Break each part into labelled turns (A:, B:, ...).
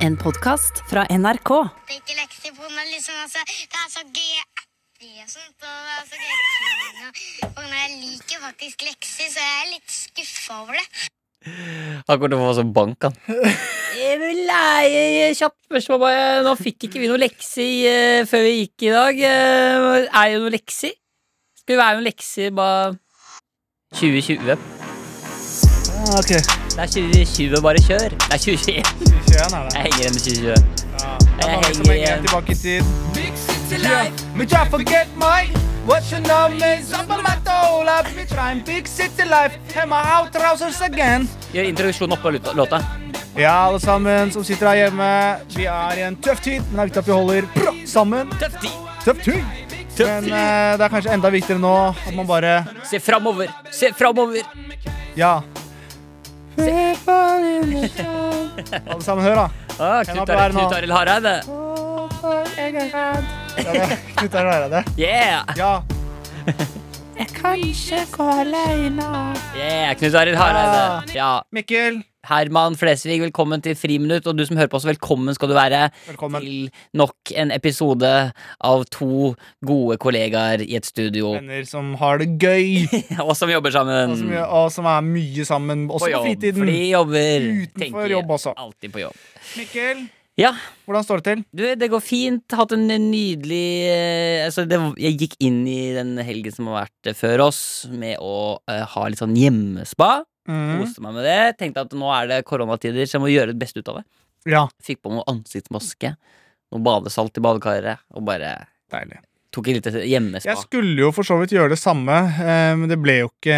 A: En podkast fra NRK.
B: ikke leksikon, men liksom altså, det er så gøy apper og sånt, og det er så gøy ting. Og, og jeg liker faktisk lekser, så jeg er litt skuffa over det.
C: Han kommer til å få sånn bank, han.
D: Nei, kjapt spørsmål bare. Nå fikk ikke vi noe lekse i, eh, før vi gikk i dag. Eh, Er det noe lekse? Skal det være noen lekser bare
C: 2020.
E: Ah, ok.
C: Det er 2020, bare kjør. Det er 2021.
E: 2021 er det.
C: Jeg henger igjen i 2020.
E: Ja.
C: Jeg
E: Da var vi
C: henger
E: som en gang
C: igjen.
E: tilbake i tid. Yeah. Me try forget my What's your name is up on my toe lap. Me try and big city life And my out trousers again
C: Gjør introduksjonen oppå luta- låta.
E: Ja, alle sammen som sitter her hjemme Vi er i en tøff tid Men det er viktig at vi holder bra sammen
C: Tøff tid.
E: Tøff tid Men eh, det er kanskje enda viktigere nå At man bare
C: Se framover. Se framover.
E: Ja Alle sammen hør da
C: Ah,
E: Jeg må
C: Knut
E: på her
C: Arild
E: nå.
C: Knut Arild Hareide.
E: Ja, det knytter jeg det
C: Yeah.
E: Ja
C: yeah. Knut Arild
E: Ah.
C: Hareide. Ja.
E: Mikkel
C: Herman Flesvig, velkommen til Friminutt. Og du som hører på oss, velkommen skal du være
E: Velkommen.
C: til nok en episode av to gode kollegaer i et studio.
E: Venner som har det gøy
C: Og som jobber sammen.
E: og som, gjør- og som er mye sammen Også på,
C: jobb,
E: fritiden
C: Fordi de jobber.
E: Utenfor
C: tenker jeg.
E: jobb også.
C: Alltid på jobb.
E: Mikkel
C: Ja,
E: Hvordan står det til?
C: du, det går fint. Hatt en nydelig eh, Altså, det, jeg gikk inn i den helgen som har vært eh, før oss, med å eh, ha litt sånn hjemmespa.
E: Mm.
C: Koste meg med det. Tenkte at nå er det koronatider, så jeg må gjøre det beste ut av det.
E: Ja.
C: Fikk på noe ansiktsmaske, noe badesalt i badekaret, og bare
E: Deilig.
C: tok et lite hjemmespa.
E: Jeg skulle jo for så vidt gjøre det samme, eh, men det ble jo ikke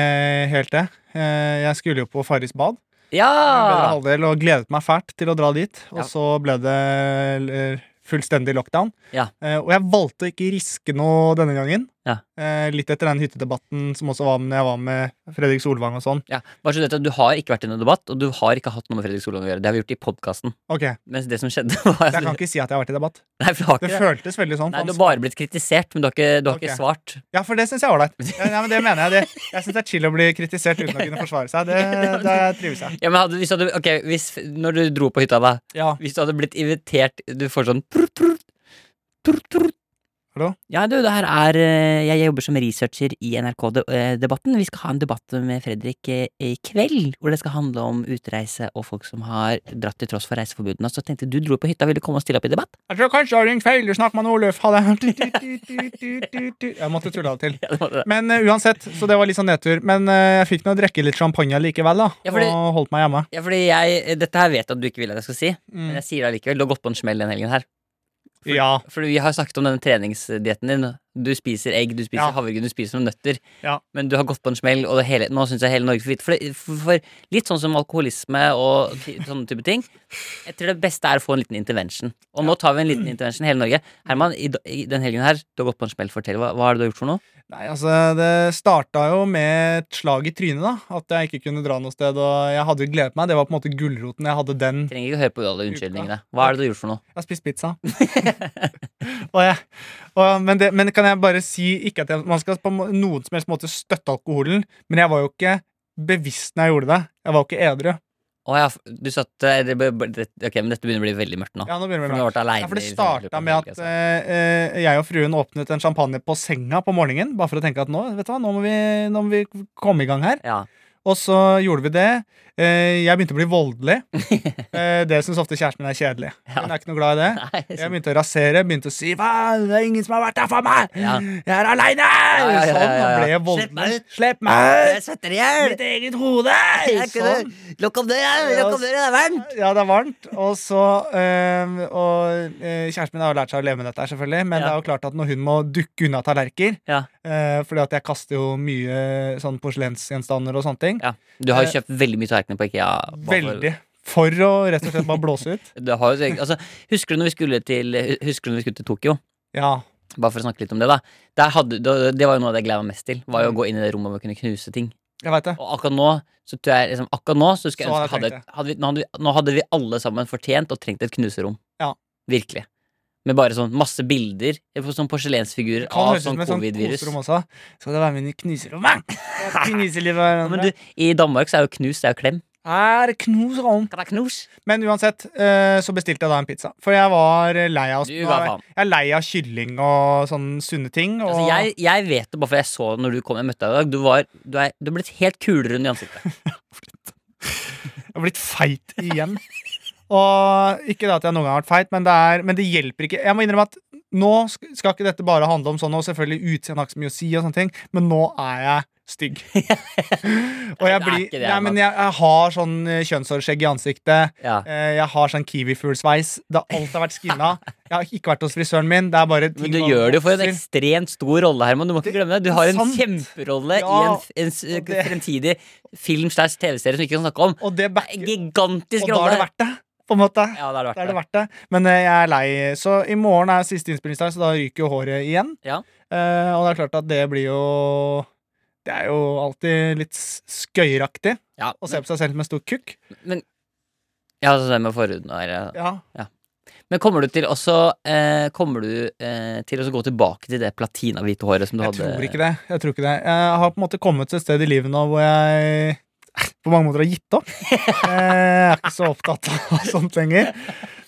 E: helt det. Eh, Jeg skulle jo på Farris bad, med bedre
C: Ja!
E: halvdel, og gledet meg fælt til å dra dit.
C: Ah.
E: Og
C: Ja.
E: så ble det eh, fullstendig lockdown.
C: Ja.
E: Eh, Og jeg valgte å ikke riske noe denne gangen.
C: Ja.
E: Eh, Litt etter den hyttedebatten som også var med når jeg var med Fredrik Solvang og sånn.
C: ja. Bare så du vet at du har ikke vært i noen debatt, og du har ikke hatt noe med Fredrik Solvang å gjøre. Det har vi gjort i podkasten.
E: Ok,
C: Mens Altså, det som skjedde, var
E: Jeg kan ikke si at jeg har vært i debatt.
C: Nei, for du har
E: Det
C: ikke det.
E: føltes veldig sånn.
C: Nei,
E: for
C: du
E: han
C: har bare blitt kritisert, men du har ikke, du har
E: Ok.
C: ikke svart.
E: Ja, for det syns jeg er ålreit. Ja, ja, men det mener jeg. Det, jeg syns det er chill å bli kritisert uten å kunne forsvare seg. Det, det trives jeg.
C: Ja, men hadde, hvis du hadde, ok, hvis, Når du dro på hytta, da
E: Ja.
C: Hvis du hadde blitt invitert Du får sånn prr, prr, prr, prr.
E: Hallo?
C: Ja, du, det her er eh, Jeg jobber som researcher i NRK-debatten. Vi skal ha en debatt med Fredrik eh, i kveld, hvor det skal handle om utreise og folk som har dratt til tross for reiseforbudene. Så tenkte jeg, du dro på hytta, vil du komme og stille opp i debatt?
E: Jeg tror kanskje jeg har ringt feil. Du snakker med Oluf. Ha det. Jeg måtte tulle av og til.
C: Ja, det var det.
E: Men eh, uansett, så det var litt sånn nedtur. Men eh, jeg fikk nå drikke litt champagne likevel, da.
C: Ja, fordi-
E: Og holdt meg hjemme.
C: Ja, fordi jeg, Dette her vet jeg at du ikke vil at jeg skal si, men
E: Mm.
C: jeg sier det allikevel. Du har gått på en smell den helgen her. for-
E: Ja.
C: For vi har snakket om denne treningsdietten din. Du spiser egg, du spiser
E: Ja.
C: havregryn, du spiser noen nøtter.
E: Ja.
C: Men du har gått på en smell, og det hele, nå syns jeg hele Norge får vite. For, det- for, for litt sånn som alkoholisme og ti- sånne type ting. Jeg tror det beste er å få en liten intervention. Og nå tar vi en liten intervention i hele Norge. Herman, i, da- i den helgen her, du har gått på en smell. Fortell, hva, hva er det du har gjort for noe?
E: Nei, altså, det starta jo med et slag i trynet, da. At jeg ikke kunne dra noe sted. Og jeg hadde jo gledet meg. Det var på en måte gulroten. Jeg hadde den.
C: Trenger ikke å høre på alle unnskyldningene. Hva er det du har gjort for noe?
E: Jeg har spist pizza. og jeg, og, men, det, men kan jeg bare si Ikke at jeg, man skal på må- noen som helst måte støtte alkoholen, men jeg var jo ikke bevisst når jeg gjorde det. Jeg var jo ikke edru.
C: Å ja, f- du satt eh, det, ble- det, Ok, men dette begynner å bli veldig mørkt nå.
E: Ja, nå begynner
C: For
E: vi
C: du
E: med
C: har vært alene
E: ja, for det
C: i- liksom,
E: starta med at eh, eh, jeg og fruen åpnet en champagne på senga på morgenen. Bare for å tenke at nå, vet du hva, nå, må, vi, nå må vi komme i gang her.
C: Ja.
E: Og så gjorde vi det. Eh, jeg begynte å bli voldelig. Eh, det syns ofte kjæresten min er kjedelig. Hun er ikke noe glad i det.
C: Nei,
E: Jeg begynte å rasere, begynte å si Hva? Det er ingen som har vært der for meg!
C: Ja.
E: Jeg er aleine!
C: ja, ja, ja,
E: Sånn. Han
C: ja.
E: ble
C: Slipp meg
E: voldelig.
C: ut!
E: Slipp meg ut!
C: svetter i hjel!
E: Mitt eget hode! Sånn.
C: Lukk opp døra,
E: lukk opp
C: døra, det er varmt!
E: Ja, det er varmt. Og så øhm, Og øh, kjæresten min har jo lært seg å leve med dette, her, selvfølgelig. Men
C: Ja.
E: det er jo klart at når hun må dukke unna tallerkener
C: Ja.
E: øh, Fordi at jeg kaster jo mye sånn porselensgjenstander og sånne ting.
C: Ja. Du har jo
E: Eh,
C: kjøpt veldig mye tallerkener på IKEA. bare for-
E: Veldig. For å rett og slett bare blåse ut.
C: Du har jo, altså, husker, du når vi skulle til, husker du når vi skulle til Tokyo?
E: Ja.
C: Bare for å snakke litt om det, da. Der hadde, da- det var jo noe av det jeg gleda meg mest til. Var jo å gå inn i det rommet og kunne knuse ting.
E: Jeg veit det.
C: Og akkurat nå så tror jeg liksom, Akkurat nå så skulle jeg
E: Så
C: ønske
E: hadde
C: hadde,
E: jeg trengt
C: hadde vi, nå, hadde vi, nå hadde vi alle sammen fortjent og trengt et knuserom.
E: Ja.
C: Virkelig. Med bare sånn masse bilder. Sånn porselensfigurer
E: Kan
C: av
E: høres ut
C: sånn
E: som et sånt
C: covid-virus.
E: koserom også. Skal det være med inn i kniserommet? Knise livet av
C: Ja, Men
E: hverandre.
C: du, I Danmark så er jo knus det er jo klem.
E: Er knus rom.
C: Kan jeg knose?
E: Men uansett, eh, så bestilte jeg da en pizza. For jeg var lei av
C: Du ga faen.
E: Jeg er lei av kylling og sånne sunne ting. Og
C: Altså, jeg, jeg vet det bare for jeg så det når du kom jeg møtte deg i dag. Du, var, du, er, du er blitt helt kulrund i ansiktet.
E: Jeg har blitt feit igjen. Og ikke da at jeg noen gang har vært feit, men det, er, men det hjelper ikke. Jeg må innrømme at nå sk- skal ikke dette bare handle om sånn, og selvfølgelig utseende har ikke så mye å si, og sånne ting, men nå er jeg stygg. og jeg
C: det er
E: blir
C: ikke det,
E: Nei,
C: Herman.
E: men jeg, jeg har sånn eh, kjønnshårskjegg i ansiktet.
C: Ja.
E: eh, Jeg har sånn kiwifuglsveis. Det har alt har vært skinna. Jeg har ikke vært hos frisøren min. Det er bare ting
C: Men du
E: man
C: gjør det jo for en
E: vokser.
C: ekstremt stor rolle, Herman. Du må ikke glemme det. Du har en
E: sant.
C: kjemperolle i
E: Ja,
C: en, f- en s-
E: og det-
C: fremtidig film slash TV-serie som vi ikke kan snakke om.
E: Og det
C: En
E: backer.
C: gigantisk
E: Og da er
C: rolle.
E: det verdt det, på en måte.
C: Ja, da er det
E: Da er
C: verdt
E: det
C: det.
E: verdt det. Men eh, jeg er lei. Så i morgen er siste innspillingsdag, så da ryker jo håret igjen.
C: Ja.
E: Eh, og det er klart at det blir jo Det er jo alltid litt s- skøyeraktig
C: Ja,
E: å se på seg selv med stor kukk.
C: ja sånn det med forhuden og ja.
E: Ja.
C: Men kommer du til også eh, Kommer du eh, til å gå tilbake til det platinahvite håret som du
E: Jeg
C: hadde?
E: tror ikke det. Jeg tror ikke det. Jeg har på en måte kommet til et sted i livet nå hvor jeg på mange måter har gitt opp. Eh, Jeg er ikke så opptatt av sånt lenger.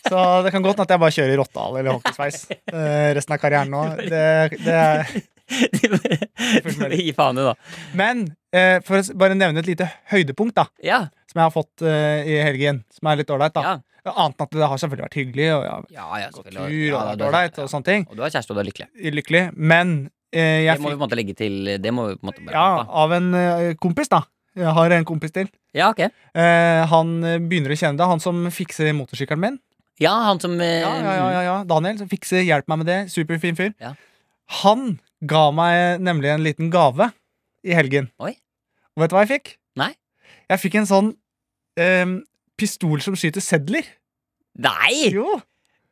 E: Så det kan godt hende at jeg bare kjører rottehale eller hockeysveis eh, resten av karrieren nå. Det, det er
C: det. Gi faen i, da.
E: Men eh, for å s- bare nevne et lite høydepunkt da
C: Ja.
E: som jeg har fått eh, i helgen, som er litt ålreit. da.
C: Ja.
E: Annet enn at det har selvfølgelig vært hyggelig, og jeg har
C: Ja, ja,
E: gått tur,
C: selvfølgelig.
E: og det
C: Ja,
E: har
C: da,
E: vært
C: du har-
E: ålreit,
C: ja.
E: og sånne ting.
C: Og du har kjæreste, og du er lykkelig.
E: Lykkelig. Men eh,
C: Det må
E: jeg
C: vi på
E: fikk
C: en måte legge til Det må vi på en måte
E: ja, av en eh, kompis, da. Jeg har en kompis til.
C: ja, ok.
E: Eh, han eh, begynner å kjenne det. Han som fikser motorsykkelen min.
C: Ja, han som eh,
E: Ja, ja, ja, ja, ja. Daniel. Som fikser, hjelp meg med det. Superfin fyr.
C: Ja.
E: Han ga meg nemlig en liten gave i helgen.
C: Oi.
E: Og vet du hva jeg fikk?
C: Nei.
E: Jeg fikk en sånn ehm, pistol som skyter sedler.
C: Nei!
E: Jo!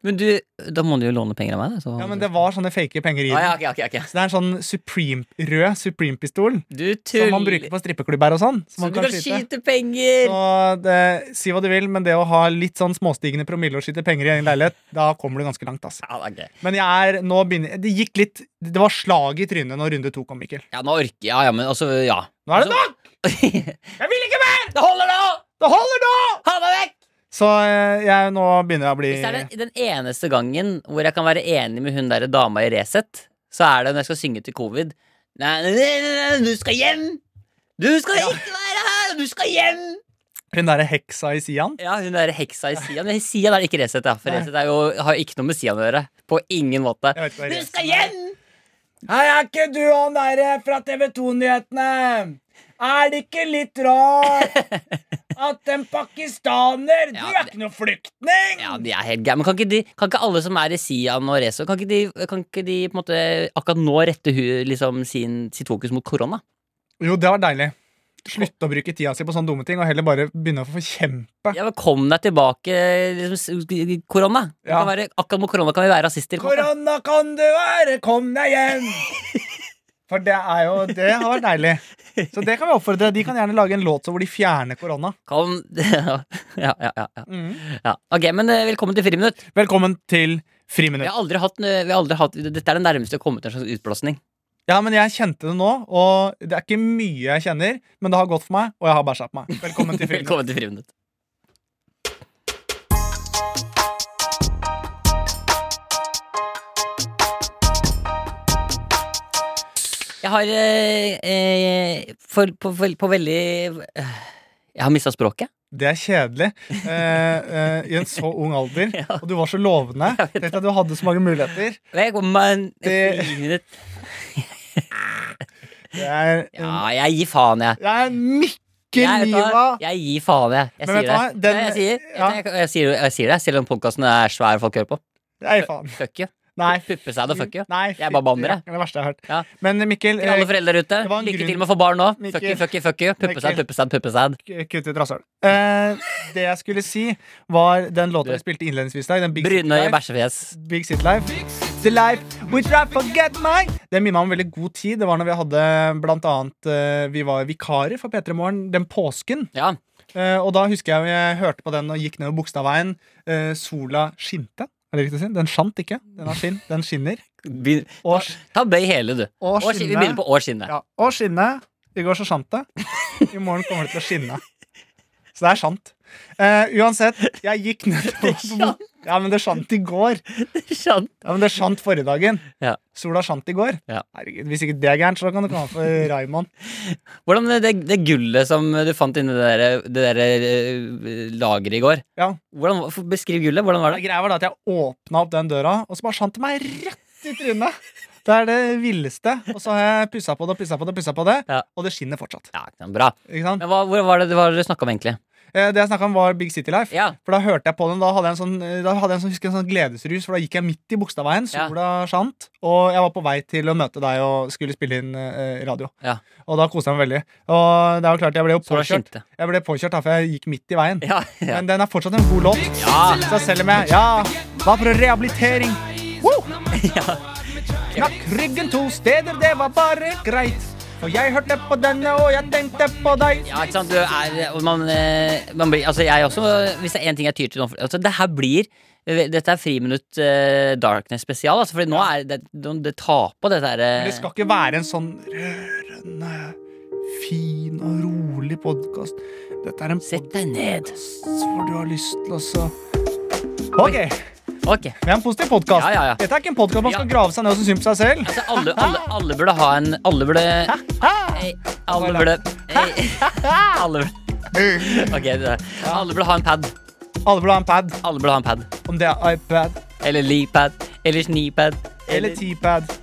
C: Men du, da må du jo låne penger av meg. da, Så.
E: Ja, men det var sånne fake penger i
C: ah,
E: den.
C: ja, ok, ok, ok.
E: Så det er en sånn Supreme, rød Supreme-pistol
C: Du tuller.
E: som man bruker på strippeklubber og sånn.
C: Så
E: Som
C: du
E: man
C: kan skyte penger!
E: Så det, si hva du vil, men det å ha litt sånn småstigende promille og skyte penger i egen leilighet, da kommer du ganske langt. ass.
C: Ja, det er gøy.
E: Men jeg er, nå begynner, det gikk litt Det var slag i trynet når runde to kom, Mikkel.
C: ja, nå orker Ja, ja, men altså, ja.
E: Nå er det nok!
C: nok!
E: Jeg vil ikke mer!
C: det holder nå!
E: Det holder nå!
C: Ha deg vekk!
E: Så eh, jeg nå begynner jeg å bli
C: Hvis det er den, den eneste gangen hvor jeg kan være enig med hun der dama i Resett, så er det når jeg skal synge til covid. Nei, nei, nei, nei, nei, du skal hjem! Du skal ikke være her! Du skal hjem!
E: Hun derre heksa i Sian.
C: Ja, hun der heksa i Sian. Men Sian er ikke Resett, ja. For
E: Nei.
C: Resett er jo, har jo ikke noe med Sian å gjøre. På ingen måte.
E: Jeg vet ikke hva
C: Du
E: det er.
C: skal hjem!
E: Hei, er ikke du han derre fra TV 2-nyhetene? Er det ikke litt rart at en pakistaner
C: Ja, er det- ikke
E: noe flyktning!
C: Ja, de er helt gærne. Men kan ikke, de, kan ikke alle som er i Sian og Reso, kan ikke de, kan ikke de på en måte akkurat nå rette hu, liksom, sin, sitt fokus mot korona?
E: Jo, det var deilig. Slutte å bruke tida si på sånne dumme ting, og heller bare begynne å forkjempe.
C: Ja, men Kom deg tilbake, liksom, s- korona. Vi
E: Ja.
C: Kan være, akkurat mot korona kan vi være rasister. på en måte.
E: Korona kan du være, kom deg hjem! For det er jo Det har vært deilig. Så det kan vi oppfordre. De kan gjerne lage en låt så hvor de fjerner korona.
C: Kom Ja, ja, ja. ja.
E: Mhm.
C: ja. Ok, men eh, velkommen til Friminutt.
E: Velkommen til
C: Vi
E: Friminutt.
C: har aldri hatt, eh, vi har aldri hatt Dette er det nærmeste vi har kommet til en slags utblåsning.
E: Ja, men jeg kjente det nå, og det er ikke mye jeg kjenner, men det har gått for meg, og jeg har bæsja på meg. Velkommen til Friminutt.
C: Velkommen til Friminutt. Jeg har eh, eh, for, på, vel- på veldig eh, Jeg har mista språket.
E: Det er kjedelig eh, eh, i en så ung alder,
C: Ja.
E: og du var så lovende.
C: Jeg vet
E: Tenkte at du hadde så mange muligheter.
C: Velkommen til
E: Det-
C: Friminutt.
E: Det er,
C: Ja, jeg gir faen, jeg.
E: det er
C: Jeg,
E: Mikkel
C: vet du
E: Niva!
C: hva? jeg gir faen, jeg. Jeg
E: Men vet
C: sier
E: du
C: det.
E: hva? Den-
C: Nei, jeg, sier,
E: ja.
C: jeg, jeg, sier, jeg sier det, selv om podkasten er svær folk hører på.
E: Nei, faen.
C: Fuck you.
E: Nei,
C: Puppe seg det, fuck you.
E: Nei,
C: Jeg bare banner, jeg.
E: Det er det verste jeg har hørt.
C: Ja.
E: Men Mikkel,
C: Til alle
E: eh,
C: foreldre der ute,
E: det var en
C: lykke
E: grunn-
C: til med å få barn nå. Fuck you,
E: Mikkel.
C: fuck you, fuck you. Puppesæd,
E: Mikkel.
C: puppesæd, puppesæd.
E: k- kutt ut rasshøl. Eh, det jeg skulle si, var den låta
C: Du.
E: vi spilte innledningsvis i dag. Den Big City
C: Brunøye
E: Life.
C: bæsjefjes.
E: Big City Life. The life we try forget my Det minner meg om veldig god tid. Det var når vi hadde blant annet eh, Vi var vikarer for P3 Morgen den påsken.
C: Ja.
E: Eh, og da husker jeg jeg hørte på den og gikk nedover Bogstadveien. Eh, sola skinte. Er det riktig å si? Den skjant ikke. Den har skinn. Den skinner.
C: Begynn-
E: Og,
C: Ta bøy hele, du.
E: og
C: År siden- Vi begynner på årskinnet.
E: Ja, og skinne. I går så skjant det. I morgen kommer det til å skinne. Så Så det er sant. Eh, uansett, jeg gikk nettopp Ja, men det sant i går.
C: Skjønt.
E: Ja, men det sant forrige dagen.
C: Ja.
E: Sola sant i går.
C: Ja.
E: Herregud, Hvis ikke det er gærent, så kan det komme for Raymond.
C: Hvordan det, det, det gullet som du fant inni det der, det der eh, lageret i går
E: Ja.
C: hvordan, f- Beskriv gullet. Hvordan var
E: Ja,
C: det?
E: Greia var da at jeg åpna opp den døra, og så bare sant det meg rett i trynet. Det er det villeste. Og så har jeg pussa på det og pussa på det, og pusset på det
C: Ja.
E: og det skinner fortsatt.
C: Ja, ikke sant, Bra.
E: Ikke sant?
C: Men hva, hvor var det hva var det dere snakka om, egentlig?
E: Eh, Det jeg snakka om, var Big City Life.
C: Ja,
E: For Da hørte jeg på den, da hadde jeg en sånn, eh, da hadde jeg en sånn, husker jeg en sånn gledesrus, for da gikk jeg midt i Bogstadveien.
C: Ja.
E: Sola skjant, og jeg var på vei til å møte deg og skulle spille inn eh, radio.
C: Ja.
E: Og da koste jeg meg veldig. Og det er jo klart, jeg ble jo
C: så det
E: påkjørt,
C: skinte.
E: jeg ble påkjørt da, for jeg gikk midt i veien.
C: Ja, ja.
E: Men den er fortsatt en god låt.
C: Ja.
E: Så selv om jeg Ja, hva for rehabilitering? Woo! Knakk ryggen to steder, det var bare greit. For jeg hørte på denne, og jeg tenkte på deg.
C: Ja, ikke sant? Du er, og man, eh, man blir, altså jeg også, hvis det er én ting jeg tyr til nå altså Det her blir Dette er Friminutt eh, Darkness spesial. Altså, fordi nå er det, det tar på, dette her. eh,
E: Men Det skal ikke være en sånn rørende, fin og rolig podkast. Dette er en
C: Sett deg ned.
E: podkast hvor du har lyst til å så Ok, vi
C: Ok.
E: er en positiv podkast.
C: Ja, ja, ja.
E: Dette er ikke en podkast man skal
C: Ja.
E: grave seg ned og synes synd på seg selv.
C: Altså, alle, alle, alle burde ha en Alle burde eh, Alle burde eh, Alle burde Ok, det der. Alle burde ha en pad.
E: Alle burde ha en pad.
C: Alle burde ha en pad.
E: Om det er iPad
C: Eller Leapad. Eller Snipad.
E: eller T-pad.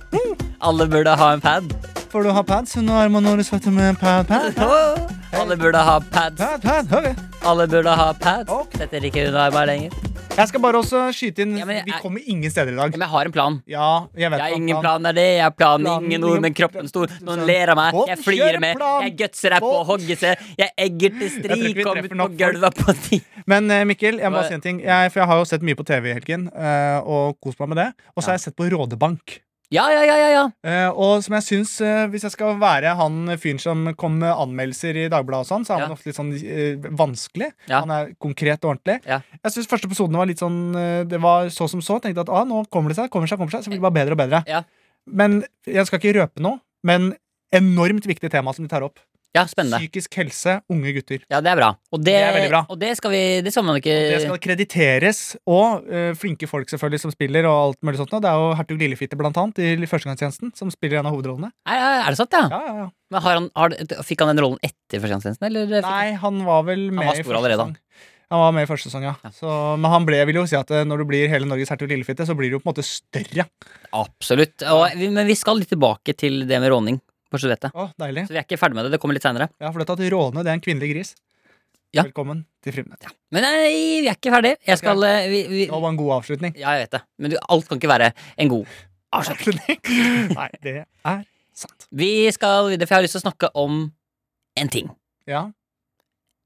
C: Alle burde ha en pad.
E: Får du ha pads under armene når du svetter med pad, pad, pad,
C: Alle burde ha pads.
E: pad, pad. ok.
C: Alle burde ha pads.
E: Ok.
C: Setter ikke under armene lenger.
E: Jeg skal bare også skyte inn
C: Ja, men jeg-
E: Vi kommer ingen steder i dag.
C: Ja, Men jeg har en plan.
E: Ja, jeg vet
C: Jeg har
E: hva
C: ingen plan er det, jeg har plan,
E: Plan,
C: ingen ord,
E: ingen-
C: men kroppen stor. Noen ler av meg,
E: Båten
C: jeg flirer
E: kjører
C: med,
E: plan.
C: jeg gutser deg på
E: Båten-
C: hogget seg, jeg egger til
E: tror
C: stri,
E: ikke vi
C: kom
E: treffer
C: ut på
E: nok folk.
C: gulvet på ti.
E: Men eh, Mikkel, jeg må
C: Hva-
E: bare si en ting jeg, For jeg har jo sett mye på TV i helgen eh, Og kost meg med det Og så har jeg sett på Rådebank
C: Ja, ja, ja, ja, ja.
E: eh, Og som jeg synes, eh, hvis jeg skal være Han fyren som kom med anmeldelser i Dagbladet og sånn, Så er
C: Ja.
E: han ofte litt sånn eh, vanskelig
C: Ja.
E: Han er konkret og ordentlig
C: Ja.
E: Jeg synes første episoden var litt sånn eh, Det var så som så, tenkte at ah, nå kommer det seg Kommer det seg, kommer det seg, så blir det bare bedre og bedre
C: Ja.
E: Men jeg skal ikke røpe noe Men enormt viktig tema som de tar opp
C: Ja, spennende.
E: Psykisk helse, unge gutter
C: Ja, det er bra. Og det,
E: Det er veldig bra.
C: Og det skal vi, det skal man ikke
E: Det skal krediteres, og eh, flinke folk selvfølgelig som spiller. og alt mulig sånt. nå. Det er jo Hertug Lillefitte blant annet, i Førstegangstjenesten, som spiller en av hovedrollene.
C: er, er det sant, ja?
E: Ja, ja, ja.
C: Men har han, har, fikk han den rollen etter førstegangstjenesten, eller? fikk han-
E: Nei, han var vel med
C: var
E: i
C: stor
E: første
C: allerede,
E: sesong. Han var med i første sesong, ja. Så, men han ble, jeg vil jo si at eh, når du blir hele Norges Hertug Lillefitte, så blir du jo på en måte større.
C: Absolutt. Og, vi- men vi skal litt tilbake til det med råning på skjelettet.
E: Å, deilig.
C: Så vi er ikke ferdig med det, det kommer litt seinere.
E: Ja, for dette at råne, det er en kvinnelig gris.
C: Ja.
E: Velkommen til Friminutt.
C: Men nei, vi er ikke ferdig. Jeg skal eh, vi, vi,
E: Det var en god avslutning.
C: Ja, jeg vet det. Men du, alt kan ikke være en god
E: Avslutning? Nei, det er sant.
C: Vi skal videre, for jeg har lyst til å snakke om en ting.
E: Ja.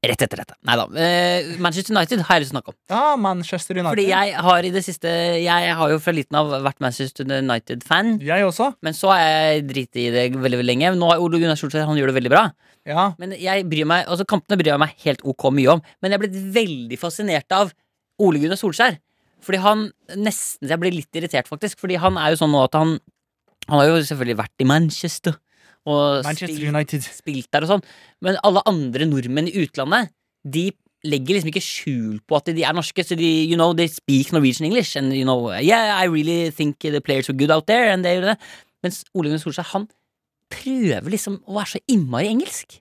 C: Rett etter dette. Nei da. eh, Manchester United har jeg lyst til å snakke om.
E: ja, Ah, Manchester United.
C: Fordi jeg har i det siste Jeg har jo fra liten av vært Manchester United-fan.
E: jeg også.
C: Men så har jeg driti i det veldig veldig lenge. Nå har Ole Gunnar Solskjær han gjør det veldig bra.
E: Ja.
C: Men jeg bryr meg, altså Kampene bryr jeg meg helt ok mye om. Men jeg er blitt veldig fascinert av Ole Gunnar Solskjær. Fordi han nesten Jeg blir litt irritert, faktisk. Fordi han er jo sånn nå at han Han har jo selvfølgelig vært i Manchester. Og
E: Manchester
C: spilt-
E: United.
C: spilt der og sånn. Men alle andre nordmenn i utlandet, de legger liksom ikke skjul på at de er norske. Så de, you know, they speak Norwegian English. And you know, yeah, I really think the players were good out there. And they, Mens Ole Gunnar Solskjær, han prøver liksom å være så innmari engelsk.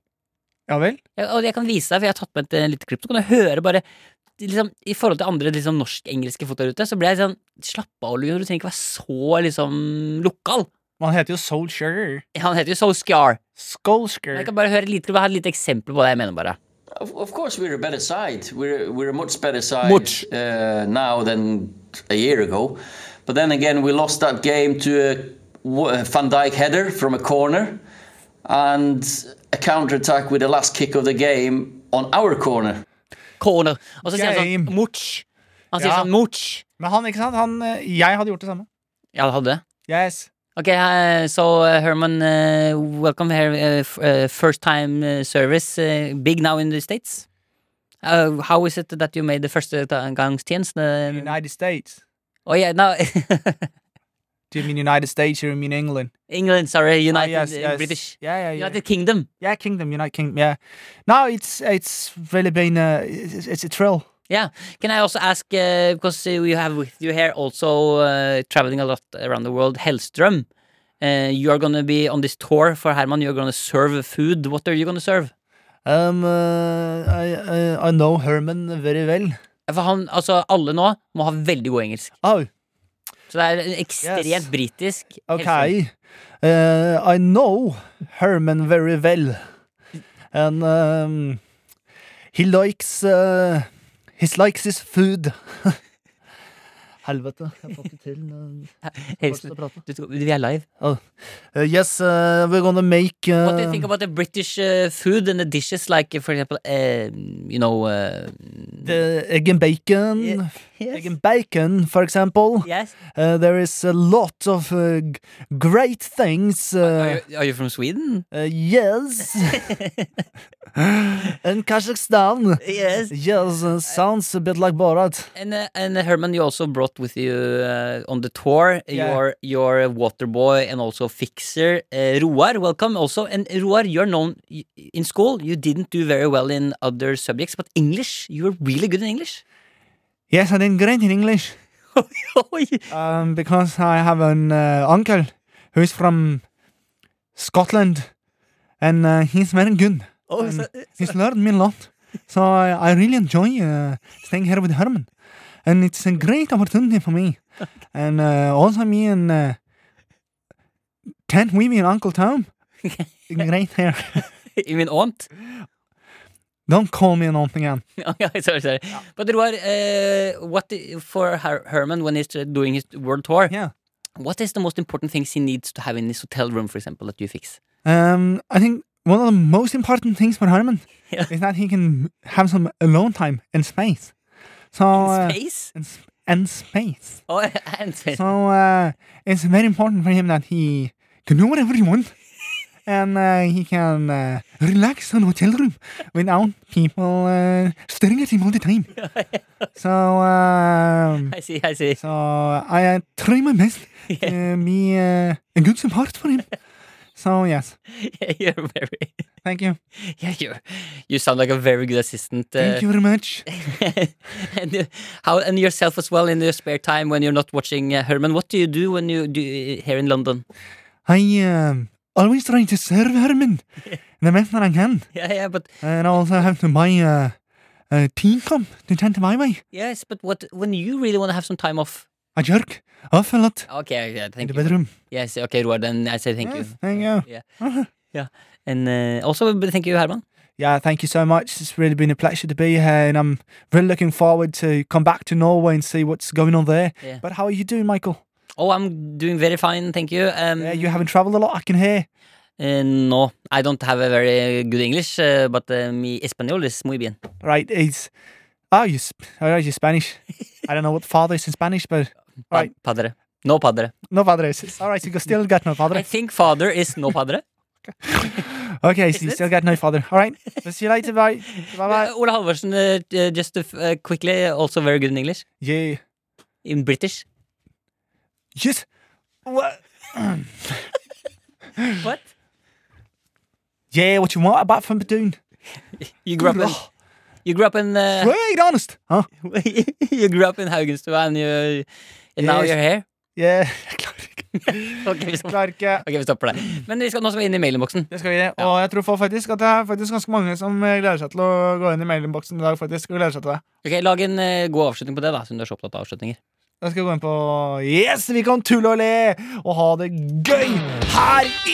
E: Ja vel?
C: Jeg, og jeg kan vise deg, for jeg har tatt med et eh, lite klipp, så kan du høre bare liksom, I forhold til andre liksom, norsk-engelske folk der ute, så ble jeg sånn Slapp av, Ole Gunnar, du trenger ikke være så liksom lokal.
E: Man heter jo Solskjær.
C: Han heter jo Solskjær. Jeg
E: Skolsker.
C: kan bare høre et lite, klipp, jeg har et lite eksempel på det jeg mener, bare.
F: Of, of course, we're a better side. We're we're a much better side
E: Much.
F: Uh, now than a year ago. But then again, we lost that game to a w- a Van Dijk header from a corner, and a counter attack with the last kick of the game on our corner.
C: corner. Og så sier han sånn
E: Game.
C: much. Han sier
E: Ja.
C: sånn much.
E: Men han, ikke sant? Han, eh, jeg hadde gjort det samme.
C: Ja, det hadde det.
E: Yes.
C: Ok, eh, so uh, Herman, eh, welcome here. eh, f- eh, first time eh, service, eh, big now in the States. Uh, how is it that you made eh, the first uh, Gangs Tiens?
E: United States.
C: Oh yeah, no.
E: Do you mean United States or you mean England? Ah,
C: England, sorry, United
E: yes,
C: uh,
E: yes.
C: British.
E: Yeah, yeah, yeah.
C: United Kingdom.
E: Yeah, Kingdom, United Kingdom. Yeah. No, it's it's really been a, it's, it's a thrill.
C: Yeah. Can I also ask, uh, because uh, we have with you here also uh, traveling a lot around the world, Hellström. Uh, you are going to be on this tour for Herman. You're going to serve food. What are you going to serve?
E: Um, uh, I, I I know Herman very well.
C: For han, altså Alle nå må ha veldig god engelsk.
E: Oh,
C: Så det er en ekstremt
E: Yes.
C: britisk. Hellstrøm.
E: okay. Uh, I know Herman very well, and um, he likes uh, he likes his food. Helvete, jeg får ikke til. uh, fortsett å
C: Hellstrøm.
E: prate.
C: Du tror- Vi er live.
E: Uh, yes, uh, we're gonna make. Uh,
C: What do you think about the British uh, food and the dishes, like uh, for example, uh, you know uh,
E: the egg and bacon?
C: Ye-
E: Egg and bacon, for example.
C: Yes.
E: Uh, there is a lot of uh, g- great things.
C: Are
E: Uh,
C: you, are you from Sweden?
E: uh, yes. and Kazakhstan.
C: Yes.
E: Yes, uh, sounds a bit like Borat.
C: And uh, and uh, Herman, you also brought with you uh, on the tour
E: Yeah.
C: your your water boy and also fixer uh, Roar. Welcome also. And Roar, you're known y- in school. You didn't do very well in other subjects, but English, you were really good in English.
E: Yes, I did great in English
C: Oh,
E: um, because I have an uh, uncle who's from Scotland, and uh, he's very good.
C: oh,
E: and he's learned me a lot. So I, I really enjoy uh, staying here with Herman. And it's a great opportunity for me. And uh, also me and uh, Tent Weeby and Uncle Tom. great here.
C: you mean aunt?
E: Don't call me an old again.
C: Okay, Oh, sorry, sorry. But Roar, uh, what i- for Her- Herman when he's uh, doing his world tour?
E: Yeah.
C: What is the most important things he needs to have in his hotel room, for example, that you fix?
E: Um, I think one of the most important things for Herman
C: Yeah.
E: is that he can have some alone time and space. So
C: Oh,
E: uh,
C: Space.
E: and, s- and space.
C: Oh, and space.
E: So uh, it's very important for him that he can do whatever he wants. And uh, he can uh, relax on hotel room without people uh, staring at him all the time. So, um,
C: I see. I see.
E: so I uh, try my best to be uh, a good support for him. So yes,
C: You're very.
E: thank you,
C: Yeah, you you sound like a very good assistant. uh,
E: thank you very much.
C: and uh, how and yourself as well in your spare time when you're not watching uh, Herman. What do you do when you do uh, here in London?
E: I um, always try to serve Herman the best that I can,
C: Yeah, yeah, but
E: and I also have to buy uh, a teacup to tend to my way.
C: yes, but what when you really want to have some time off?
E: I jerk off a lot
C: Okay, yeah,
E: in
C: thank
E: the
C: you.
E: bedroom.
C: Yes, okay, Roar, then I say thank you.
E: Yes, thank you. Uh-huh.
C: And uh, also but thank you, Herman.
E: Yeah, thank you so much. It's really been a pleasure to be here, and I'm really looking forward to come back to Norway and see what's going on there.
C: Yeah.
E: But how are you doing, Michael?
C: Oh, I'm doing very fine, thank you. Um,
E: Yeah, you haven't travelled a lot, I can hear.
C: uh, no, I don't have a very good English, uh, but uh, mi español is muy bien.
E: Right, it's oh, you, sp- oh, you Spanish. I don't know what father is in Spanish, but
C: Pa-
E: Right.
C: Padre. No padre.
E: no father is. All right, so you still got no
C: I
E: father.
C: think father is no padre.
E: Okay, so you still got no father. All right, we'll see you later. Bye. Bye.
C: Uh,
E: Bye.
C: Ola Halvorsen, uh, uh, just to f- uh, quickly, uh, also very good in English,
E: Yeah.
C: in British.
E: Yes. What?
C: What?
E: Yeah. What you want about from Badoon?
C: You grew up in you grew up in uh,
E: Right, Oh, honest, huh?
C: you grew up in Haugenstua, and you and now
E: Yes.
C: you're here.
E: Yeah, jeg klarer ikke.
C: Ok, vi, stopper-
E: Klarer ikke.
C: ok, vi stopper der. Men vi skal nå skal vi inn i mailinnboksen.
E: Det skal vi gjøre. Og jeg tror fa- faktisk at det er faktisk ganske mange som eh, gleder seg til å gå inn i mailinnboksen i dag. faktisk, og gleder seg til det.
C: Ok, lag en eh, god avslutning på det, da, siden du er så opptatt av avslutninger.
E: Da skal vi gå inn på Yes, vi kan tulle og le og ha det gøy her i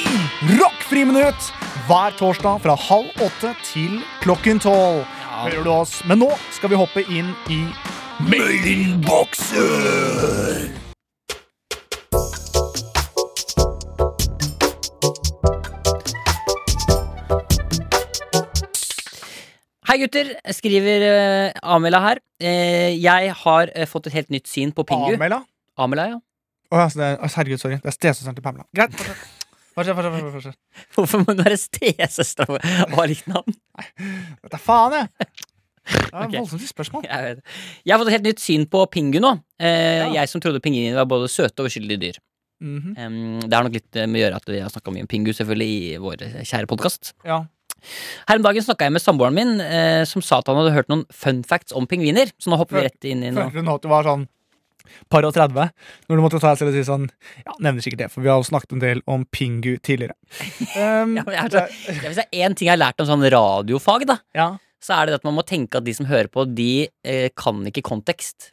E: Rockfriminutt! Hver torsdag fra halv åtte til klokken tolv. Hører du oss? Men nå skal vi hoppe inn i mailinnboksen!
C: Hei, gutter, skriver eh, Amela her. Eh, jeg har eh, fått et helt nytt syn på Pingu.
E: Amela?
C: Amela, ja.
E: Å, altså, det er, altså, herregud, sorry. Det er stesøsteren til Pamela. Greit. fortsett. Fortsett, fortsett, fortsett, fortsett.
C: Hvorfor må hun være stesøstera vår og ha likt navn?
E: Dette er faen, jeg! Det er
C: Ok.
E: et voldsomt spørsmål.
C: Jeg vet det. Jeg har fått et helt nytt syn på pingu nå. Eh,
E: Ja.
C: Jeg som trodde pingviner var både søte og uskyldige dyr.
E: Mhm.
C: Em, det har nok litt eh, med å gjøre at vi har snakka mye om Pingu selvfølgelig i vår eh, kjære podkast.
E: Ja.
C: Her om dagen snakka jeg med samboeren min, eh, som sa at han hadde hørt noen fun facts om pingviner. Så nå hopper vi rett inn i noe.
E: Følte du nå at du var sånn par og 30, når du måtte ta deg selv og si sånn Ja, nevner sikkert det, for vi har jo snakket en del om Pingu tidligere. Um,
C: Ja, men jeg er så, ja, hvis det er én ting jeg har lært om sånn radiofag, da,
E: ja.
C: så er det at man må tenke at de som hører på, de eh, kan ikke kontekst.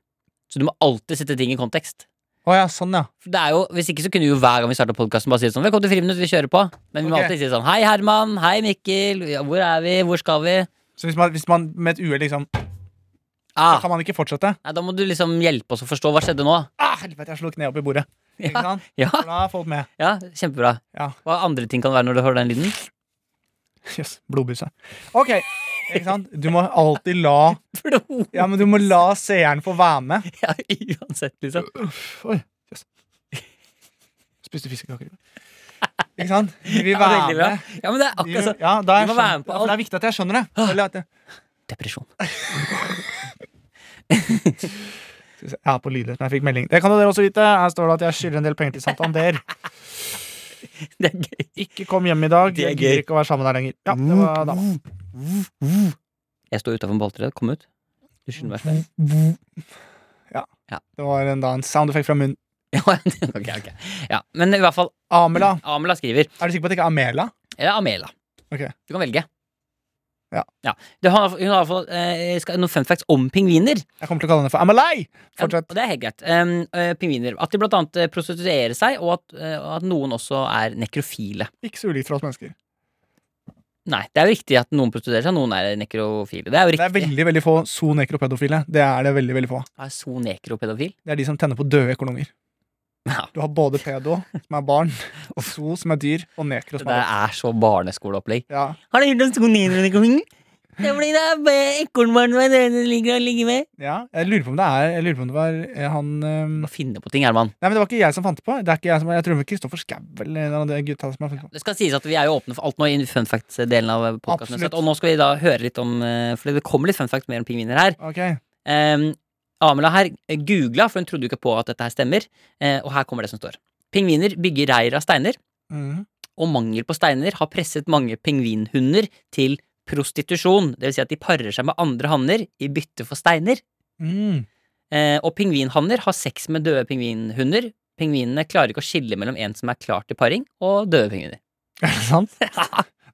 C: Så du må alltid sette ting i kontekst.
E: Å ja, sånn, ja.
C: For det er jo, Hvis ikke så kunne vi jo hver gang vi starta podkasten bare si sånn Velkommen til Friminutt, vi kjører på. Men vi må
E: Ok.
C: alltid si sånn Hei, Herman. Hei, Mikkel. Ja, hvor er vi? Hvor skal vi?
E: Så hvis man, hvis man med et uhell liksom
C: Ah,
E: Kan man ikke fortsette?
C: nei, da må du liksom hjelpe oss å forstå hva skjedde nå.
E: Ah, helvete, jeg slo kneet opp i bordet. Ikke sant?
C: Ja,
E: For da er folk med.
C: ja kjempebra.
E: Ja.
C: Hva andre ting kan det være når du hører den lyden?
E: Jøss, yes, blodbuse. Ok, ikke sant? Du må alltid la
C: Blod.
E: Ja, men du må la seeren få være med.
C: Ja, uansett, liksom.
E: Oi, jøss. Spiste fiskekaker. Ikke sant? De vil
C: Ja, det er
E: være
C: veldig bra.
E: med.
C: ja, men det er
E: De,
C: akkurat sånn.
E: ja, da
C: de
E: jeg
C: må være
E: skjønner,
C: med på Ah.
E: ja, for det er viktig at jeg skjønner det. Eller at jeg,
C: Depresjon.
E: Skal vi se, jeg er på lydløs, men jeg fikk melding. Det kan jo dere også vite. Her står det at jeg skylder en del penger til Santander.
C: Det er gøy.
E: Ikke kom hjem i dag.
C: Det er
E: Jeg gidder
C: gøy. Mm.
E: ikke å være sammen der lenger. Ja, det var da.
C: Jeg står utafor en balltre. Kom ut. Du skylder meg spenn.
E: Det var en, da en sound effect fra munnen.
C: Ja, ok, ok. Ja, men i hvert fall,
E: Amela.
C: Amela skriver.
E: Er du sikker på at det ikke er Amela?
C: Eller Amela.
E: Ok.
C: Du kan velge.
E: Ja.
C: Det har, hun har i hvert fall eh, skal- noen fun facts om pingviner.
E: Jeg kommer til å kalle henne for Amalai.
C: Ja,
E: Fortsett.
C: og det er helt greit. Um, eh, pingviner. At de blant annet eh, prostituerer seg, og at, eh, og at noen også er nekrofile.
E: Ikke så ulikt fra oss mennesker.
C: Nei, det er jo riktig at noen prostituerer seg, noen er nekrofile. Det er jo
E: Det
C: riktig.
E: er veldig veldig få zoonekropedofile. Det er det veldig, veldig få.
C: Er so nekropedofil?
E: Det er de som tenner på døde økonomer.
C: Ja.
E: Du har både pedo, som er barn, og zoo, som er dyr, og nekro,
C: Det
E: som er
C: der er så barneskoleopplegg.
E: ja.
C: Har du hørt om so nekrofil? Det er fordi det er ekornbarn som er døde og ligger og ligger med.
E: ja. Jeg lurer på om det er Jeg lurer på om det var eh, han ehm,
C: Du må finne på ting, Herman.
E: Nei, men det var ikke jeg som fant det på. Det er ikke jeg som Jeg tror det var Kristoffer Skau eller en av de gutta som har funnet på.
C: Det skal sies at vi er jo åpne for alt nå i fun facts-delen av podkasten.
E: Absolutt.
C: Og nå skal vi da høre litt om eh, Fordi det kommer litt fun facts mer om pingviner her.
E: Ok,
C: Um, Amela her googla, for hun trodde jo ikke på at dette her stemmer. Eh, og her kommer det som står. Pingviner bygger reir av steiner,
E: Mhm.
C: og mangel på steiner har presset mange pingvinhunder til prostitusjon. Det vil si at de parer seg med andre hanner i bytte for steiner.
E: Mm.
C: Eh, og pingvinhanner har sex med døde pingvinhunder. Pingvinene klarer ikke å skille mellom en som er klar til paring, og døde pingviner.
E: Er det sant?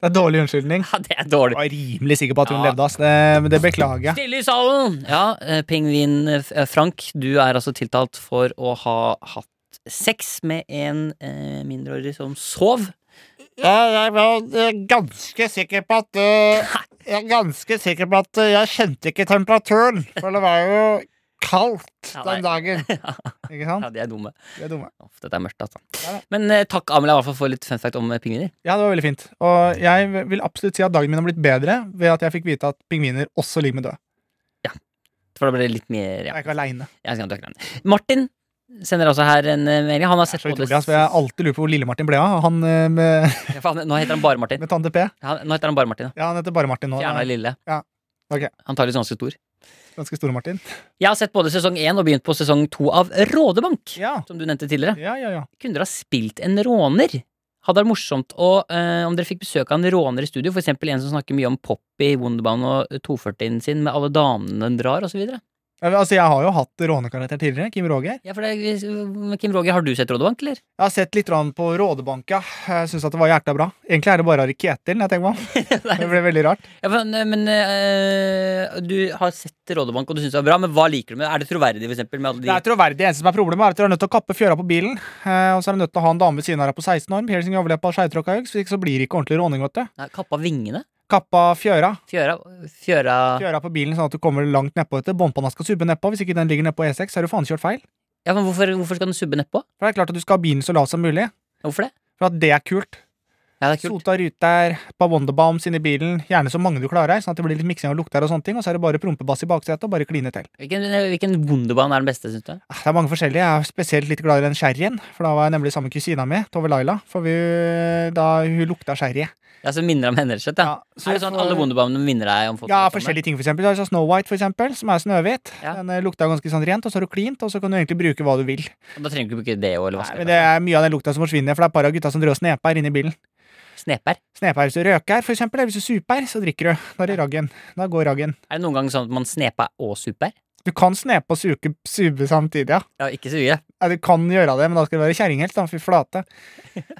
E: Det er dårlig unnskyldning.
C: Ja, det er
E: Jeg
C: dårlig.
E: var rimelig sikker på at hun
C: Ja.
E: levde, ass. Det, men det beklager jeg.
C: Stille i salen! Ja, eh, pingvin eh, Frank, du er altså tiltalt for å ha hatt sex med en eh, mindreårig som sov.
G: Jeg var eh, ganske sikker på at eh, Jeg er ganske sikker på at eh, jeg kjente ikke temperaturen, for det var jo kaldt
C: Ja,
G: den
C: nei.
G: dagen.
E: Ikke sant?
C: Ja, de er dumme.
E: Vi er dumme.
C: Uff, dette er mørkt, altså.
E: Ja.
C: Men eh, takk, Amel, i hvert fall for litt fun fact om eh, pingviner.
E: Ja, det var veldig fint. Og jeg vil absolutt si at dagen min har blitt bedre ved at jeg fikk vite at pingviner også ligger med døde.
C: For da blir det litt mer
E: Jeg
C: ja.
E: er ikke aleine.
C: jeg skal ikke glemme det. Martin sender altså her en eh, melding. Han har sett
E: Så
C: på det
E: utrolig, ass. for Jeg har alltid lurt på hvor Lille-Martin ble av. Han eh, med,
C: Ja, faen, Nå heter han bare Martin.
E: med tante P.
C: Han, nå heter han bare Martin. ja.
E: Ja, han heter bare Martin nå.
C: Fjerna lille.
E: Ja. Ok.
C: Antakeligvis ganske stor.
E: Ganske store Martin.
C: Jeg har sett både sesong én og begynt på sesong to av Rådebank.
E: Ja,
C: Som du nevnte tidligere.
E: ja, ja. ja.
C: Kunne dere ha spilt en råner? Hadde det vært morsomt å, eh, om dere fikk besøk av en råner i studio, for eksempel en som snakker mye om Poppy, Wonderbound og 240-en sin, med alle damene den drar, osv.
E: Altså, jeg har jo hatt rånekarakter tidligere. Kim Roger.
C: Ja, for det, er- eh, Kim Roger, har du sett Rådebank, eller?
E: Jeg har sett litt grann på Rådebanka. Jeg syns det var jækla bra. Egentlig er det bare Ari Kjetil jeg tenker meg om. Det ble veldig rart.
C: Ja, men men eh, du har sett Rådebank, og du syns det var bra, men hva liker du med det? Er det troverdig, for eksempel? Med alle de...
E: Det er troverdig. Eneste som er problemet, er at du er nødt til å kappe fjøra på bilen. eh, Og så er du nødt til å ha en dame ved siden av deg på 16 år. Piercing i overleppa og skeivtråkka øks, hvis ikke så blir det ikke ordentlig råning, vet du.
C: Nei, kappa vingene?
E: Kappa fjøra.
C: Fjøra, fjøra
E: Fjøra på bilen sånn at du kommer langt nedpå etter. Båndpanna skal subbe nedpå. Hvis ikke den ligger nedpå E6, så er du faen kjørt feil.
C: Ja, men hvorfor, hvorfor skal den subbe nedpå?
E: For det er klart at du skal ha bilen så lav som mulig.
C: Hvorfor det?
E: For at det er kult.
C: Ja, det er kult.
E: Sota ruter, på Wonderbombs inni bilen, gjerne så mange du klarer, sånn at det blir litt miksing av lukter og sånne ting, og så er det bare prompebass i baksetet og bare kline til.
C: Hvilken, hvilken Wunderbaum er den beste, syns du?
E: Ah, Det er mange forskjellige. Jeg er spesielt litt glad i den sherryen, for da var jeg nemlig sammen med kusina mi, Tove Laila, for vi, da hun lukta sherry.
C: Ja, som minner om henne, rett og slett? Ja.
E: så
C: er det sånn at
E: for-
C: alle Wunderbaumene minner deg om folk?
E: Ja,
C: du er sammen med?
E: forskjellige ting, for eksempel. Altså Snow White, for eksempel, som er Snøhvit.
C: Ja.
E: Den eh, lukta ganske sånn rent, og så er det cleant, og så kan du egentlig bruke hva du vil.
C: Og Da trenger du ikke bruke det og- eller
E: Nei,
C: vaske
E: men det er mye av den lukta som forsvinner, for det er et par av gutta som driver og sneper inni bilen.
C: Sneper?
E: Sneper hvis du røker, for eksempel, eller hvis du super, så drikker du. Da er det raggen. Da går raggen.
C: Er det noen gang sånn at man sneper og super?
E: Du kan snepe og suke, sube samtidig, ja.
C: Ja, ikke suge.
E: Ja, du kan gjøre det, men da skal du være kjerring helt, da. Fy flate.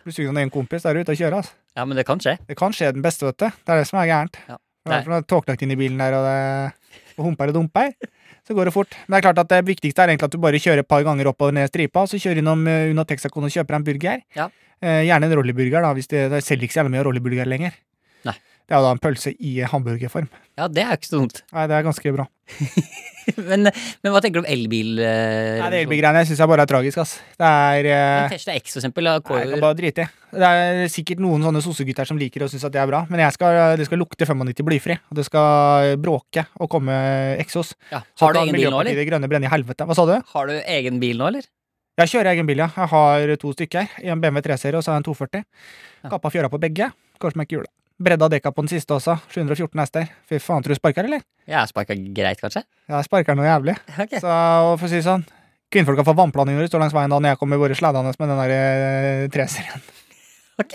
E: Du suger sånn en kompis, da er du ute å kjøre, altså.
C: Ja, men det kan skje.
E: Det kan skje den beste, vet du. Det er det som er gærent.
C: Ja.
E: Det er for noe tåkelagt inn i bilen der, og det og humper og dumper. Så går det fort. Men det er klart at det viktigste er egentlig at du bare kjører et par ganger opp og ned stripa, og så kjører innom eh, Una Texacon og kjøper deg en burger.
C: Ja.
E: Eh, gjerne en rolliburger, da, hvis det, det selger ikke så jævlig mye rolliburger lenger.
C: Nei.
E: Det er jo da en pølse i hamburgerform.
C: Ja, det er jo ikke så dumt.
E: Nei, det er ganske bra.
C: Men, men hva tenker du om elbil? eh,
E: Nei, det elbilgreiene syns jeg bare er tragisk, ass. Det er eh,
C: Men Tesla X, for eksempel. da,
E: Nei, jeg
C: Går
E: kan
C: jo
E: bare drite i. Det er sikkert noen sånne sossegutter som liker og syns at det er bra, men jeg skal, det skal lukte 95 blyfri, og det skal bråke og komme eksos.
C: ja.
E: Så
C: Har du
E: kan
C: egen bil nå,
E: Miljøpartiet
C: eller?
E: De Grønne brenne i helvete. Hva sa du?
C: Har du egen bil nå, eller?
E: Jeg kjører egen bil, ja. Jeg har to stykker. En BMW 3-serie og så en 240. Kappa fjøra på begge. Kanskje meg ikke hjulet. Bredda dekka på den siste også. 714 hester. Fy faen, tror du sparker, eller?
C: Jeg sparka greit, kanskje?
E: Jeg sparker noe jævlig.
C: Ok.
E: Så og for å si det sånn Kvinnfolka får vannplaning når de står langs veien da når jeg kommer bare slædende med den der eh, 3-serien.
C: Ok.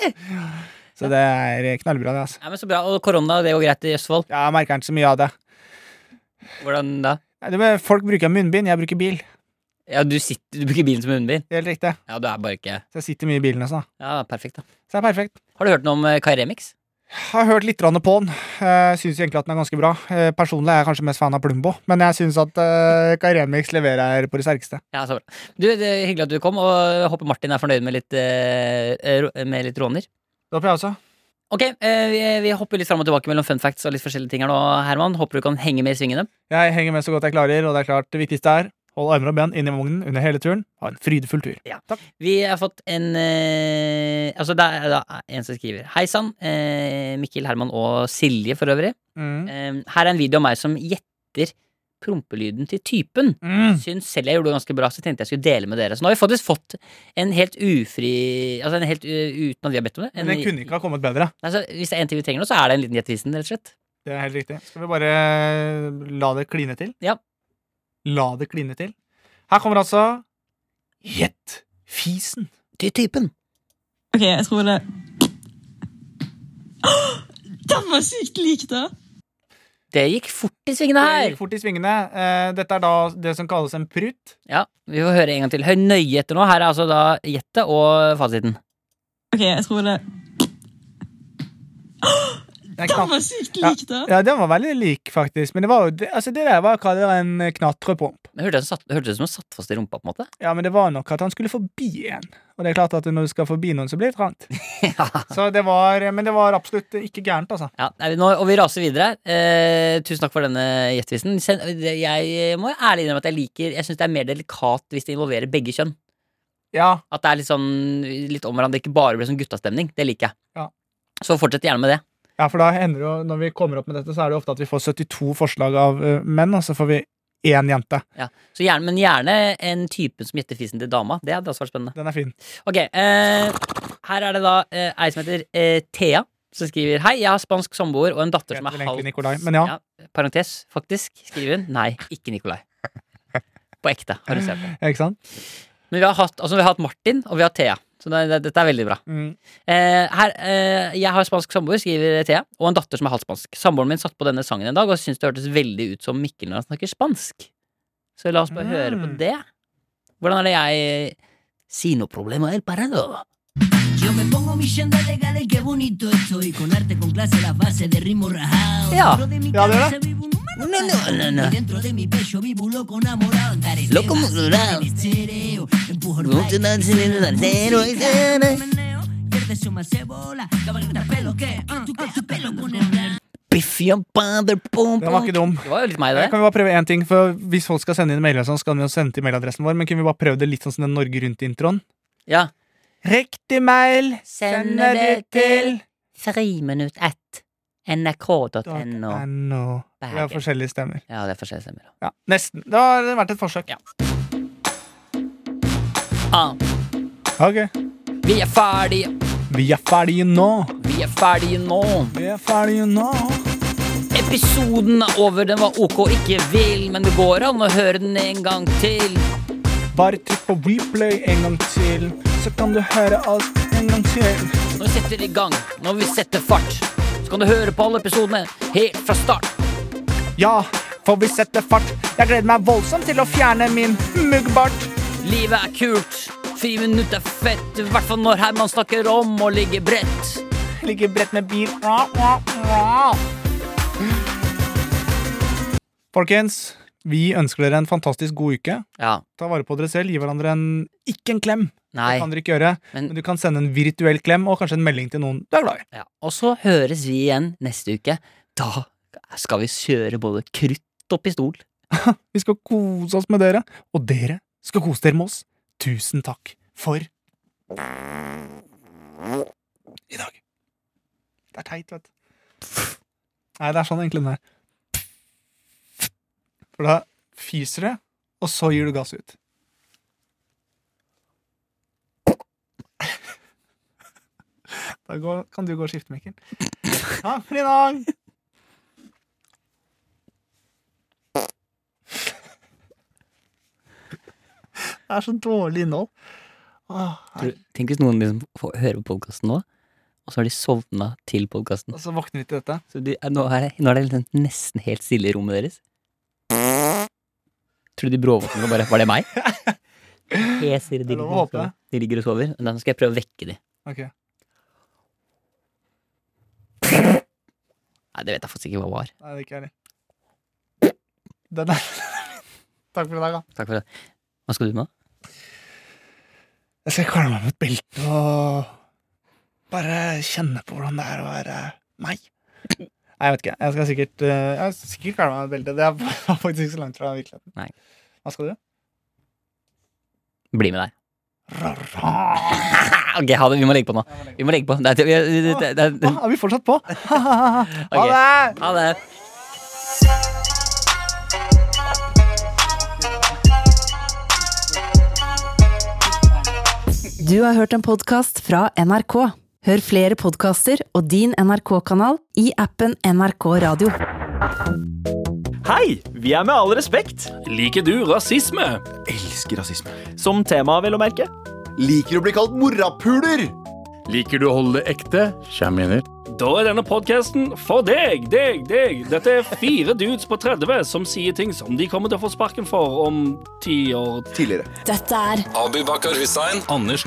E: Så det er knallbra, det, altså.
C: Nei, men Så bra. Og korona, det går greit i Østfold?
E: Ja, Jeg merker ikke så mye av det.
C: Hvordan da?
E: Nei, det med, folk bruker munnbind, jeg bruker bil.
C: Ja, du, sitter, du bruker bilen som munnbind?
E: Det er Helt riktig.
C: Ja, du er bare ikke
E: Så jeg sitter mye i bilen også, da.
C: Ja, perfekt, da.
E: Så det er perfekt.
C: Har du hørt noe om eh, Kai Remix?
E: Jeg har hørt litt grann på den. Eh, Jeg syns egentlig at den er ganske bra. Eh, Personlig er jeg kanskje mest fan av Plumbo, men jeg syns at uh, Remix leverer på det sterkeste.
C: Ja, så bra. Du, det er Hyggelig at du kom, og jeg håper Martin er fornøyd med litt, eh, eh, ro- med litt råner.
E: Det håper jeg også.
C: Ok, eh, vi, vi hopper litt fram og tilbake mellom fun facts og litt forskjellige ting her nå, Herman. Håper du kan henge med i svingene.
E: Jeg henger med så godt jeg klarer, og det er klart det viktigste er hold armer og ben inn i vognen under hele turen. Ha en frydefull tur.
C: Vi har fått en eh, Altså, det er det er en som skriver. Hei sann, eh, Mikkel, Herman og Silje for øvrig.
E: Mm.
C: Eh, her er en video av meg som gjetter prompelyden til typen.
E: Mm.
C: Syns selv jeg gjorde det ganske bra, så tenkte jeg skulle dele med dere. Så nå har vi faktisk fått en helt ufri Altså en helt u- uten at vi har bedt om det. En,
E: Men den kunne ikke ha kommet bedre.
C: Nei, så hvis det er en ting vi trenger nå, så er det en liten gjettvisen, rett og slett.
E: Det er helt riktig. Skal vi bare eh, la det kline til?
C: Ja.
E: La det kline til. Her kommer altså Gjett fisen.
C: Til typen.
H: Ok, jeg tror det Den var sykt lik, da!
C: Det gikk fort i svingene
E: Det
C: her.
E: gikk fort i svingene. Eh, Dette er da det som kalles en prutt.
C: Ja, Vi får høre en gang til. Hør nøye etter nå. Her er altså da gjettet og fasiten.
H: Ok, jeg tror det
E: Det er
H: Den
E: knatt-
H: var sykt lik, da!
E: Ja, den var veldig lik, faktisk. Men det var jo det- altså det der var å kalle det en knatrepomp.
C: Det hørtes satt- hørtes ut som hun satt fast i rumpa, på en måte.
E: Ja, men det var nok at han skulle forbi en. Og det er klart at når du skal forbi noen, så blir det trangt. Så det var Men det var absolutt ikke gærent, altså.
C: Ja, nei, nå, og vi raser videre. Eh, tusen takk for denne gjettvisen. Sen- det- Jeg må ærlig innrømme at jeg liker Jeg syns det er mer delikat hvis det involverer begge kjønn.
E: Ja.
C: At det er litt sånn litt om hverandre, ikke bare blir sånn guttastemning. Det liker jeg.
E: Ja.
C: Så fortsett gjerne med det.
E: Ja, for da hender det jo, når vi kommer opp med dette, så er det jo ofte at vi får 72 forslag av eh, menn, og så får vi én jente.
C: Ja. Så gjerne, men gjerne en type som gjetter fisen til dama. Det hadde også vært spennende.
E: Den er fin.
C: Ok, eh, her er det da eh, ei som heter eh, Thea, som skriver Hei, jeg har spansk samboer og en datter som
E: Heter
C: er
E: vel egentlig
C: halvt
E: Nikolai, men ja.
C: Parentes, faktisk, skriver hun. Nei, ikke Nikolai. På ekte, har hun sett det.
E: Ikke sant?
C: Men vi har hatt, altså, vi har hatt Martin, og vi har Thea. Så det, det, dette er veldig bra.
E: Mm.
C: Eh, her, eh, jeg har spansk samboer, skriver Thea, og en datter som er halvt spansk. Samboeren min satt på denne sangen en dag og syntes det hørtes veldig ut som Mikkel når han snakker spansk. Så la oss bare høre på
E: Mm.
C: det. Hvordan er det jeg eh, Si no problema el parado.
I: Yo me pongo mi yenda legal y qué bonito estoy Con arte, con clase, la base de ritmo rajado
C: Ya.
I: Dentro de mi
E: Ya, ¿verdad?
I: cabeza vivo un humano
C: No, no, no, no.
I: Y dentro de mi pecho vivo un loco enamorado Entarece
C: Loco
I: vacío
C: enamorado.
I: en estereo Empujo el
C: Loco
I: baile,
C: enamorado,
I: música,
C: enterece.
I: meneo, Pierde su macebola Cabalgata pelo que ah, ah, su pelo con el blanco.
C: Biff, ja, bader, pom,
E: Den var
C: pom.
E: ikke dum.
C: Det var jo litt meg,
E: Kan
C: det.
E: vi bare prøve en ting, for Hvis folk skal sende inn mailer, og sånn, skal de jo sende til mailadressen vår. Men kunne vi bare prøvd det litt sånn som den Norge Rundt-introen?
C: Ja.
E: Riktig mail sender du til
C: friminutt 1 nrk.no.
E: .no. Vi har forskjellige stemmer.
C: Ja, det er forskjellige stemmer.
E: Ja, nesten. Det har vært et forsøk.
D: Ah,
E: Ok.
D: vi er ferdige,
E: Vi er ferdige nå.
D: vi er ferdige nå.
E: Vi er ferdige nå.
D: Episoden er over, den var ok og ikke vill, men det går an å høre den en gang til.
E: Bare trykk på replay en gang til, så kan du høre oss en gang til.
D: Når vi setter i gang, når vi setter fart, så kan du høre på alle episodene helt fra start.
E: Ja, for vi setter fart. Jeg gleder meg voldsomt til å fjerne min muggbart.
D: Livet er kult, friminutt er fett, i hvert fall når Herman snakker om å ligge bredt.
E: Ligger bredt med bil. Ra, ra, ra. Folkens, vi ønsker dere en fantastisk god uke.
C: Ja.
E: Ta vare på dere selv. Gi hverandre en ikke en klem.
C: Nei.
E: Det kan dere ikke gjøre.
C: Men-
E: Men du kan sende en virtuell klem og kanskje en melding til noen du er glad i.
C: Ja. Og så høres vi igjen neste uke. Da skal vi kjøre både krutt og pistol.
E: Vi skal kose oss med dere, og dere skal kose dere med oss. Tusen takk for i dag. Det er teit, vet du. Nei, det er sånn egentlig den er. For da fiser du, og så gir du gass ut. Da går, kan du gå og skifte, Mikkel. Takk for i dag! Det er så dårlig innhold. Åh,
C: Tror du- Tenk hvis noen liksom får høre på podkasten nå, og så har de sovna til podkasten.
E: og så våkner vi til dette.
C: Så de, er- nå, er det, nå er det liksom nesten helt stille i rommet deres. Tror du de bråvåkner og bare Var det meg? Jeg sier de, ligger
E: Det er lov å
C: og
E: håpe.
C: sover. de ligger og sover. Men da skal jeg prøve å vekke de.
E: Ok.
C: Nei, det vet jeg faktisk ikke hva var.
E: Nei, det er ikke jeg Den er Takk for i dag, da.
C: Takk for det. Hva skal du med?
E: Jeg skal kvalme meg mot beltet og bare kjenne på hvordan det er å være meg. Nei, jeg vet ikke. Jeg skal sikkert eh, Jeg skal sikkert kvalme meg mot beltet. Det er faktisk ikke så langt fra virkeligheten.
C: Nei.
E: Hva skal du?
C: Bli med deg.
E: Ra-ra.
C: Ok, ha det. Vi må legge på nå. Vi må legge på. Det er, det er, det er, det
E: Å,
C: er.
E: er Ah, vi fortsatt på? Ha
C: Ok.
E: det!
C: Ha det.
A: Du har hørt en podkast fra NRK. Hør flere podkaster og din NRK-kanal i appen NRK Radio.
J: Hei! Vi er Med all respekt
K: Liker du rasisme?
L: Elsker rasisme.
J: som tema, vel å merke.
L: Liker å bli kalt morapuler!
K: Liker du å holde det ekte? Kjem inn Da er denne podcasten for deg, deg, deg. Dette er fire dudes på 30 som sier ting som de kommer til å få sparken for om ti år.
L: Tidligere.
I: Dette er
K: Abid Bakar Hussein. Anders